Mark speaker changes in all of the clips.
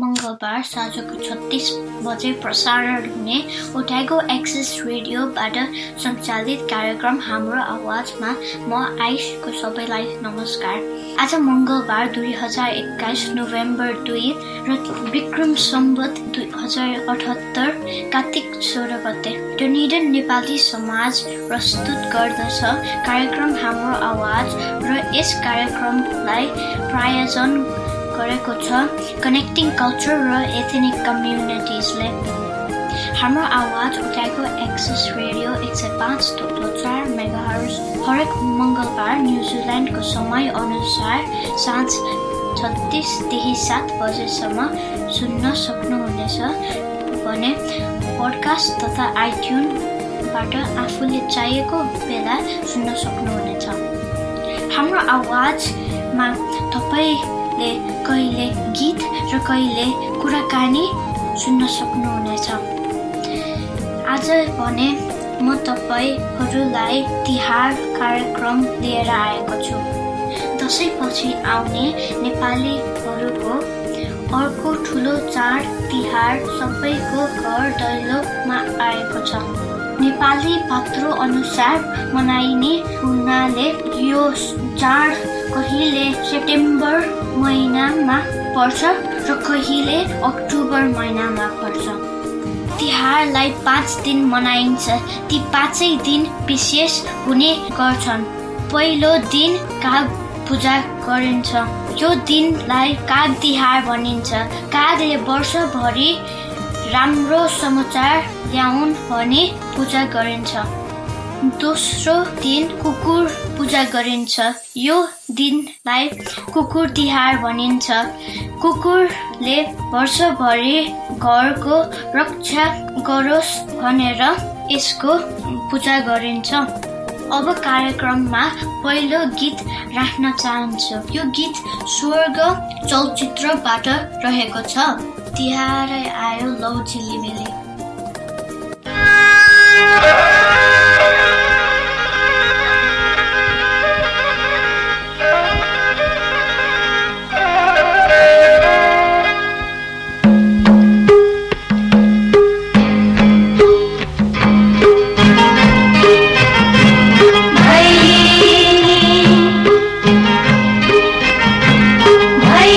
Speaker 1: मङ्गलबार साँझको छत्तिस बजे प्रसारण हुने ओटाइगो एक्सिस रेडियोबाट सञ्चालित कार्यक्रम हाम्रो आवाजमा म आइसको सबैलाई नमस्कार आज मङ्गलबार दुई हजार एक्काइस नोभेम्बर दुई र विक्रम सम्बत दुई हजार अठहत्तर कार्तिक सोह्र गते डोनिडन नेपाली समाज प्रस्तुत गर्दछ कार्यक्रम हाम्रो आवाज र यस कार्यक्रमलाई प्रायोजन गरेको छ कनेक्टिङ कल्चर र एथेनिक कम्युनिटिजले हाम्रो आवाज उठाएको एक्सेस रेडियो एक सय पाँच थोप्लो चार मेगाहरू हरेक मङ्गलबार न्युजिल्यान्डको समय अनुसार साँझ छत्तिसदेखि सात बजेसम्म सुन्न सक्नुहुनेछ भने पडकास्ट तथा आइट्युनबाट आफूले चाहिएको बेला सुन्न सक्नुहुनेछ हाम्रो आवाजमा तपाईँ ले कहिले गीत र कहिले कुराकानी सुन्न सक्नुहुनेछ आज भने म तपाईँहरूलाई तिहार कार्यक्रम लिएर आएको छु दसैँपछि आउने नेपालीहरूको अर्को ठुलो चाड तिहार सबैको घर दैलोमा आएको छ नेपाली पात्रो अनुसार मनाइने हुनाले यो चाड कहिले सेप्टेम्बर महिनामा पर्छ र कहिले अक्टोबर महिनामा पर्छ तिहारलाई पाँच दिन मनाइन्छ ती पाँचै दिन विशेष हुने गर्छन् पहिलो दिन काग पूजा गरिन्छ यो दिनलाई काग तिहार भनिन्छ कागले वर्षभरि राम्रो समाचार ल्याउन् भने पूजा गरिन्छ दोस्रो दिन कुकुर पूजा गरिन्छ यो दिनलाई कुकुर तिहार भनिन्छ कुकुरले वर्षभरि घरको रक्षा गरोस् भनेर यसको पूजा गरिन्छ अब कार्यक्रममा पहिलो गीत राख्न चाहन्छु यो गीत स्वर्ग चलचित्रबाट रहेको छ तिहारै आयो लौ झिलिमिली
Speaker 2: Bye.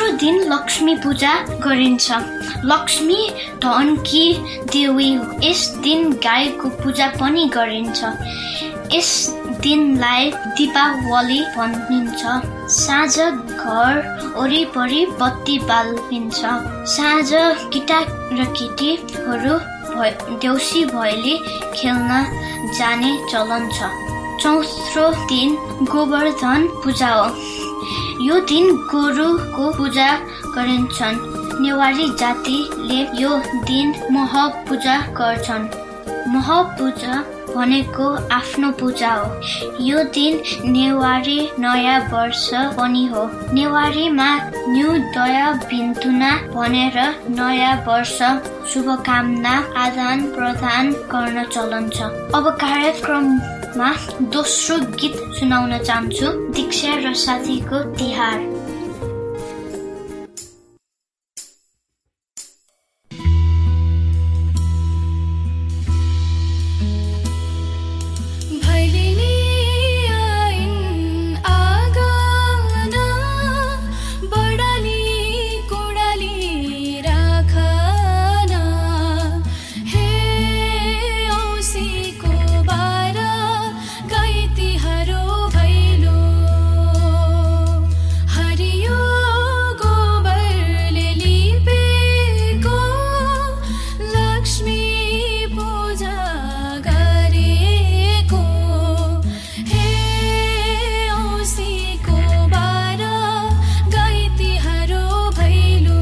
Speaker 1: पूजा गरिन्छ लक्ष्मी धनकी देवी हो यस दिन गाईको पूजा पनि गरिन्छ यस दिनलाई दिपावली भनिन्छ साँझ घर वरिपरि बत्ती बालिन्छ साँझ केटा र केटीहरू भ- देउसी भैली खेल्न जाने चलन छ चौथो दिन गोवर्धन पूजा हो यो दिन गोरुको पूजा गरिन्छन् नेवारी जातिले यो दिन मह पूजा गर्छन् मह पूजा भनेको आफ्नो पूजा हो यो दिन नेवारी नयाँ वर्ष पनि हो नेवारीमा न्यू दया भिन्तुना भनेर नयाँ वर्ष शुभकामना आदान प्रदान गर्न चलन छ अब कार्यक्रममा दोस्रो गीत सुनाउन चाहन्छु दीक्षा र साथीको तिहार
Speaker 2: भैलिनी आइन् आगाना बडाली कोडाली राखना हे औसीको बारा गाई तिहारो भैलो हरियो गोबरले लिपेको लक्ष्मी पूजा गरेको हे औसीको बार गाई तिहारो भैलो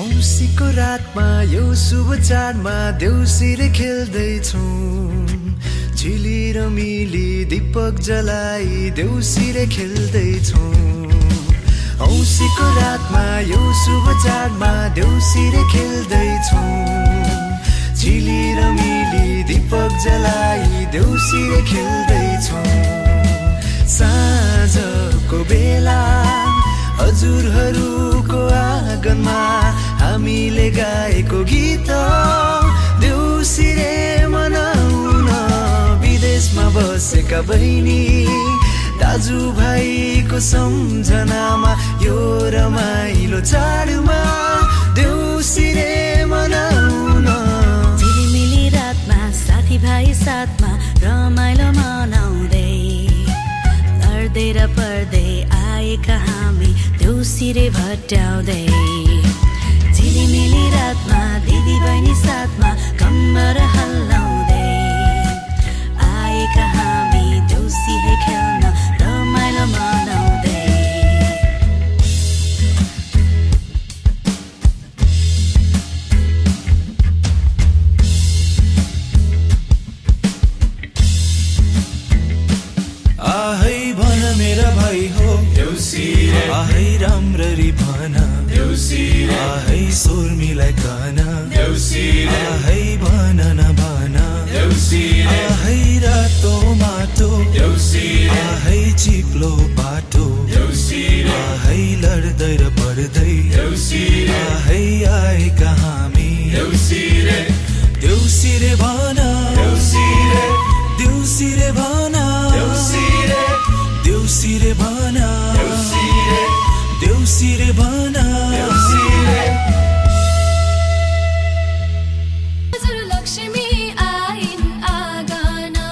Speaker 3: औँसीको रातमा यो शुभ चाडमा देउसीले खेल्दैछौँ झिली र मिली दीपक जलाई देउसीले खेल्दैछौँ औँसीको रातमा यो शुभ चाडमा देउसीले खेल्दैछौँ झिली र मिली दीपक जलाई देउसीले खेल्दैछौँ साँझको बेला हजुरहरूको आँगनमा हामीले गाएको गीत देउसिरे मनाउन विदेशमा बसेका बहिनी दाजुभाइको सम्झनामा यो रमाइलो चाडमा देउसिरे मनाउन
Speaker 4: झिलिमिली रातमा साथीभाइ साथमा रमाइलो मनाउँदै लड्दै र पर्दै आएका हामी देउसिरे भट्याउँदै झिलिमिली रातमा दिदीबहिनी साथमा कम्मर हल्लाउँदै आएका हामी देउसिरे खेल्न रमाइलो मनाउँदै
Speaker 3: आहै भन मेरा भाइ हो आहै राम्ररी भन आहै स्वर मिलाइ कन आहै भन न भन आहै रातो माटो आहै चिप्लो बाटो आहै लड्दै र पढ्दै आहै आएका हामी देउसिरे भन देउसिरे भन देउसिरे भन देउसिरे भन
Speaker 2: हजुर लक्ष्मी आइन् आगाना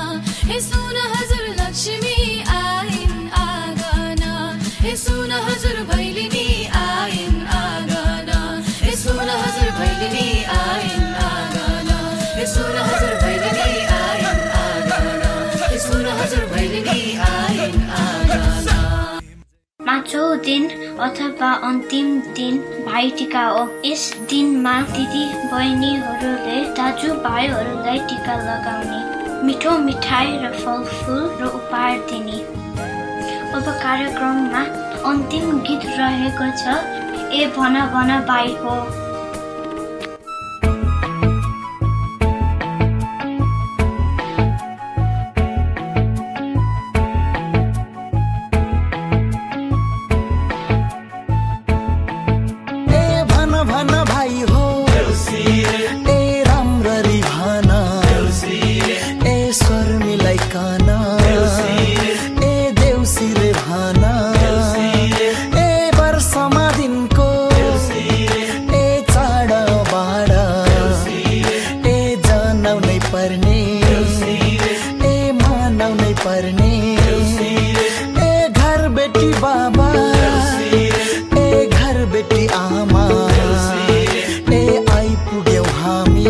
Speaker 2: हे सुन हजुर लक्ष्मी आइन् आगाना हे सुन हजुर भैलिनी आइन् आगाना हे सुन हजुर भैलिनी आइन् आगाना हे सुन हजुर भैलिनी आइन् आगाना हे सुन हजुर भैलिनी आइन् आगाना
Speaker 1: पाँचौँ दिन अथवा अन्तिम दिन भाइटिका हो यस दिनमा दिदी बहिनीहरूले दाजुभाइहरूलाई टिका लगाउने मिठो मिठाई र फलफुल र उपहार दिने अब कार्यक्रममा अन्तिम गीत रहेको छ ए भन भन बाई हो
Speaker 3: ए भन भन भाइ हो ए राम्ररी भन ए स्वर मिलाइ कान बेटी बाबा ए घर बेटी आमा ए आइपुग्यौ हामी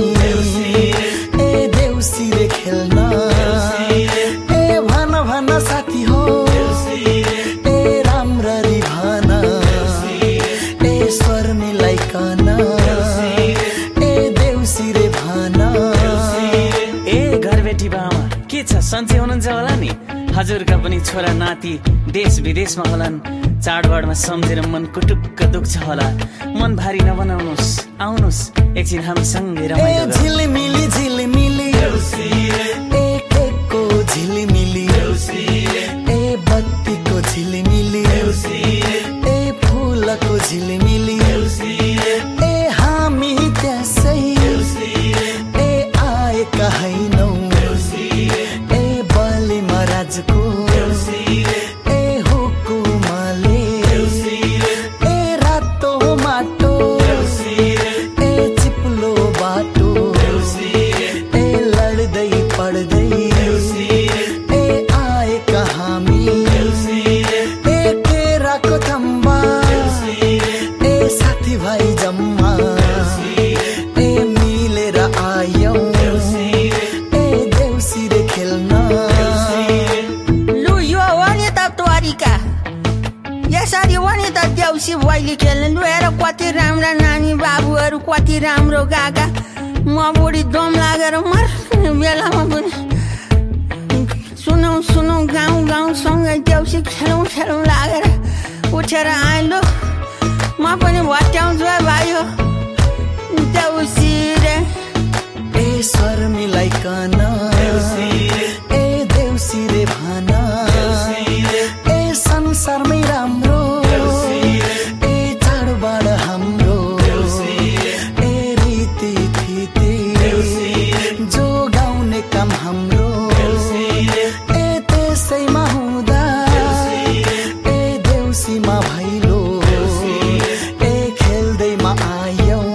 Speaker 3: ए देउसीले खेल्न ए भन भन साथी हो ए राम्ररी भन ए स्वर मिलाइकन ए देउसी रे भन
Speaker 5: ए घर बेटी बामा के छ सन्चै हुनुहुन्छ होला नि हजुरका पनि छोरा नाति देश विदेशमा होलान् चाडबाडमा सम्झेर मन कुटुक्क दुख्छ होला मन भारी नबनाउनुहोस् आउनुहोस् एकछिन हामीसँगै
Speaker 3: ए
Speaker 5: रमाइलो गरौँ।
Speaker 3: झिलिमिली झिलिमिली ए केकको झिलिमिली ए बत्तीको झिलिमिली ए फुलको झिलिमिली ए हामी त्यसै ए आएका हैनौ ए बलि महाराजको ए हुकुमले ए रातो माटो ए चिप्लो बाटो ए लड्दै पढ्दै ए आएका हामी ए केराको थम्बा ए साथीभाइ जम्मा ए मिलेर आयौँ ए देउसीले खेल्न
Speaker 6: लु यो हो नि त तोरीका यसरी हो नि त देउसी भैली खेल्ने लु हेर कति राम्रा नानी बाबुहरू कति राम्रो गएका म बुढी दम लागेर मर्ने बेलामा पनि सुनौ सुनौ गाउँ गाउँसँगै देउसी खेलौँ खेलौँ लागेर उठेर आएँ लु म पनि भट्याउँछु है भाइ हो देउसी रे
Speaker 3: ए स्वर मिलाइकन ए देउसी रे भान ए संसारमै राम्रो ए चाडबाड हाम्रो ए रीति थिति जो गाउने काम हाम्रो ए त्यसैमा हुँदा ए देउसीमा भैलो ए खेल्दैमा आयौँ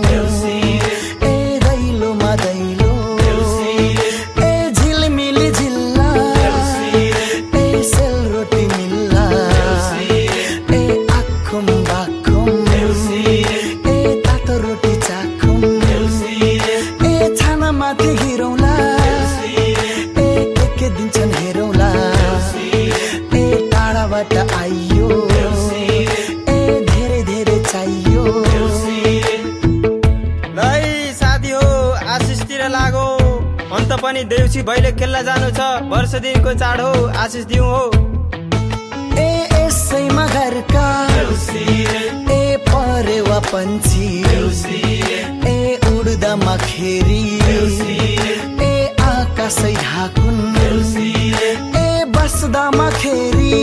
Speaker 3: ए दैलोमा दैलो ए झिलमिली झिल्ला ए सेलरोटी मिल्ला ए आखुम बाखुम ए तातो रोटी चाखुम ए छाना माथि हिरौँला ए के के दिन्छन् हेरौँला ए टाढाबाट आइयो ए धेरै धेरै चाहियो
Speaker 7: लै साथी हो आशिषतिर लागो अन्त पनि देउसी भैले खेल्न जानु छ वर्ष दिनको चाड हो आशिष दिउँ हो
Speaker 3: ए यसैमा घरका ए परेवा पन्छी ए उड्दामा खेरी ए आकाशै ढाकुन ए बस्दामा खेरी ए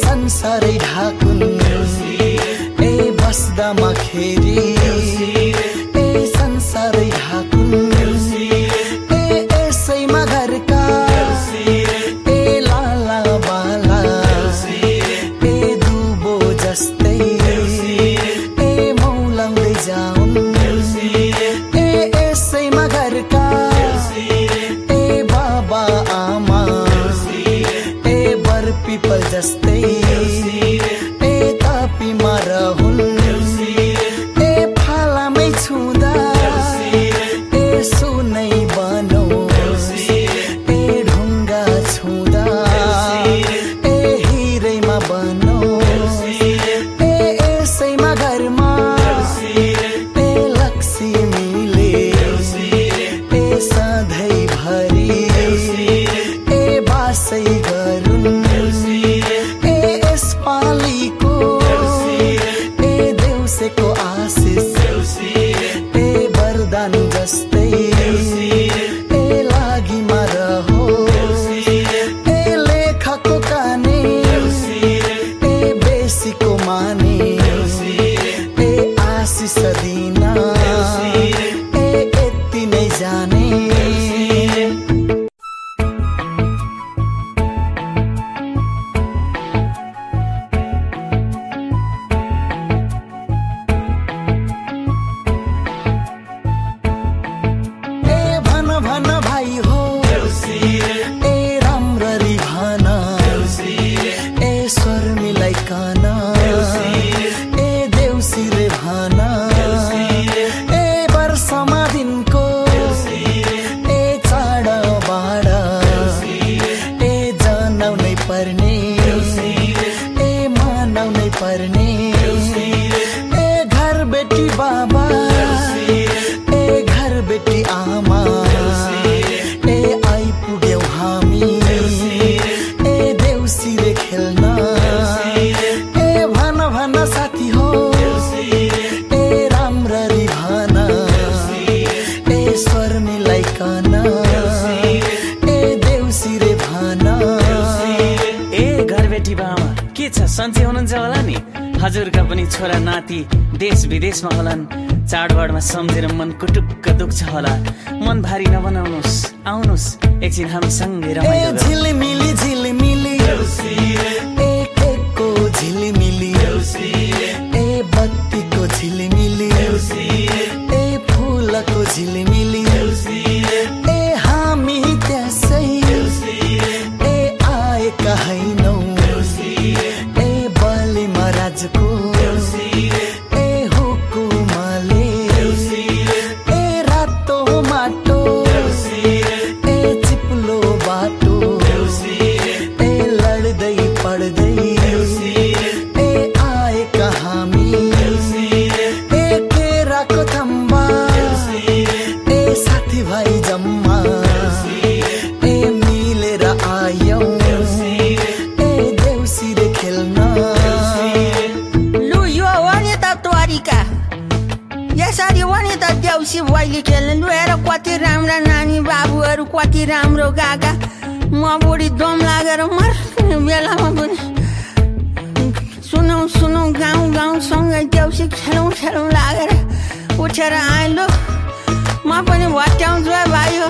Speaker 3: संसारै ढाकुन ए बस्दामा खेरी ए संसारै ढाकुन ए यसैमा घरका ए लाला बाला ए दुबो जस्तै ए मौलाउँदै जाउँ ए यसैमा घरका ए बाबा आमा ए बर पिपल जस्तै ए तापीमा रहुन् ए फालामै छुँदा ए सुनै बनोस् ए ढुङ्गा छुँदा ए हिरैमा बनोस् ए यसैमा घरमा ए लक्ष्मीले ए सधैँभरि ए बासै गरुन् ए पर्ने ए घर बेटी बाबा ए घर बेटी आमा ए आइपुग्यौ हामी ए देउसीले खेल्न ए भन भन साथी हो ए राम्ररी भन ए स्वर मिलाइकन ए देउसी रे भन
Speaker 5: ए घर बेटी बाबा के छ सन्चै हुनुहुन्छ होला नि हजुरका पनि छोरा नाति देश विदेशमा होलान् चाडबाडमा सम्झेर मन कुटुक्क दुख्छ होला मन भारी नबनाउनुहोस् आउनुहोस् एकछिन हामीसँगै
Speaker 3: ए
Speaker 5: रमाइलो गरौँ।
Speaker 3: झिलिमिली झिलिमिली ए केकको झिलिमिली ए बत्तीको झिलिमिली ए फुलको झिलिमिली ए हामी त्यसै ए आएका हैनौ ए बलिमा राजको ए हुकुमले ए रातो माटो ए चिप्लो बाटो ए लड्दै पढ्दै ए आएका हामी ए केराको थम्बा ए साथीभाइ जम्मा ए मिलेर आयौँ ए देउसीले खेल्न
Speaker 6: लु यो हो नि त तोरीका यसरी हो नि त देउसी भैली खेल्नु हेर कति राम्रा नानी बाबुहरू कति राम्रो गागा म बुढी दम लागेर मर्ने बेलामा पनि सुनौ सुनौ गाउँ गाउँसँगै देउसी खेलौँ खेलौँ लागेर उठेर आएँ लु म पनि भट्याउँछु है भाइ हो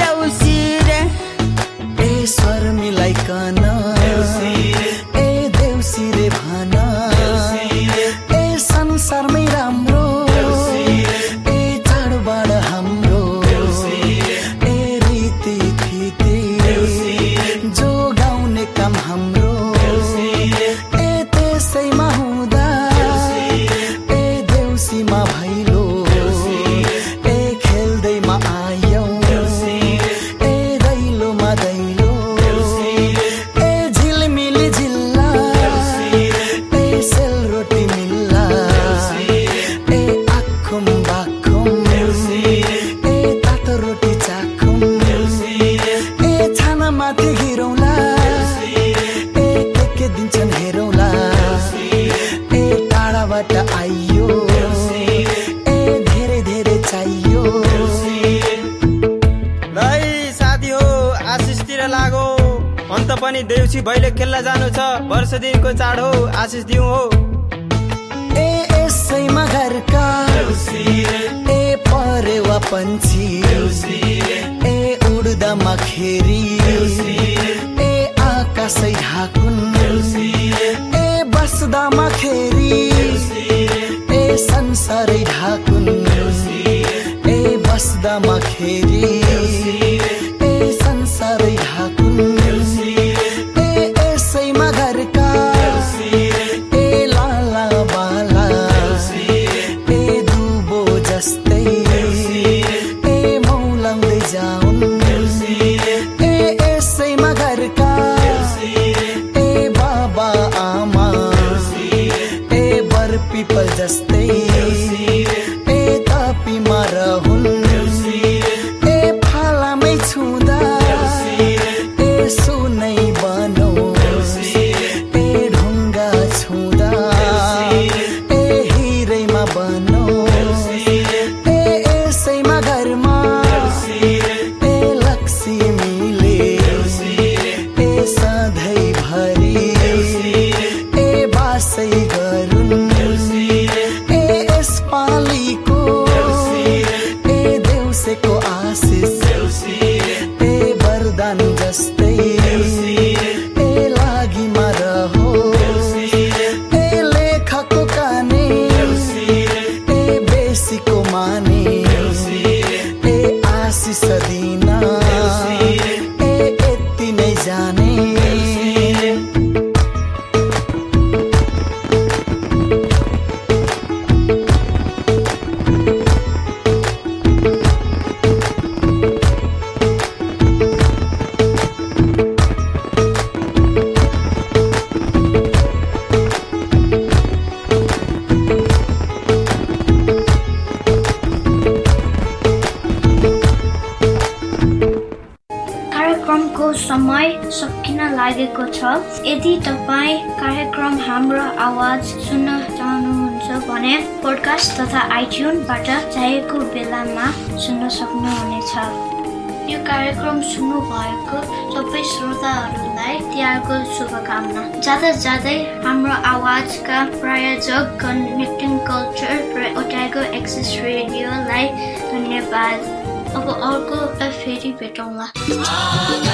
Speaker 6: देउसी रे
Speaker 3: ए स्वर मिलाइकन ए देउसी रे भन ए संसारमै राम्रो ए चाडबाड हाम्रो ए रीति फिति जो गाउने काम हाम्रो ए त्यसैमा हुँदा ए देउसीमा भैलो ए खेल्दैमा आयौँ ए दैलोमा दैलो ए झिलमिली झिल्ला ए सेलरोटी मिल्ला ए आखुम बाखुम ए तातो रोटी चाखुम ए छाना माथि घिरौँला ए के के दिन्छन् हेरौँला ए टाढाबाट आइयो ए धेरै धेरै चाहियो
Speaker 7: लै साथी हो आशिषतिर लागो अन्त पनि देउसी भैले खेल्न जानु छ वर्ष दिनको चाड हो आशिष दिउँ हो
Speaker 3: ए यसैमा घरका ए परेवा पन्छी ए उड्दामा खेरी ए आकाशै ढाकुन ए बस्दामा खेरी ए संसारै ढाकुन ए बस्दामा खेरी ए संसारै ढाकुन ए यसैमा घरका ए लाला बाला ए दुबो जस्तै ए मौलाउँदै जाउन् ए यसैमा घरका ए बाबा आमा ए बर पिपल जस्तै ए तापीमा रहुन् ए फालामै छुँदा ए सुनै बनोस् ए ढुङ्गा छुँदा ए हिरैमा बनोस् ए यसैमा घरमा ए लक्ष्मीले ए सधैँभरि ए बासै गरुन् ए
Speaker 1: छ यदि तपाईँ कार्यक्रम हाम्रो आवाज सुन्न चाहनुहुन्छ भने पोडकास्ट तथा आइट्युनबाट चाहिएको बेलामा सुन्न सक्नुहुनेछ यो कार्यक्रम सुन्नुभएको सबै श्रोताहरूलाई तिहारको शुभकामना जाँदा जाँदै हाम्रो आवाजका प्रायोजक कनेक्टिङ कल्चर र ओटागो एक्सेस रेडियोलाई धन्यवाद अब अर्को हप्ता फेरि भेटौँला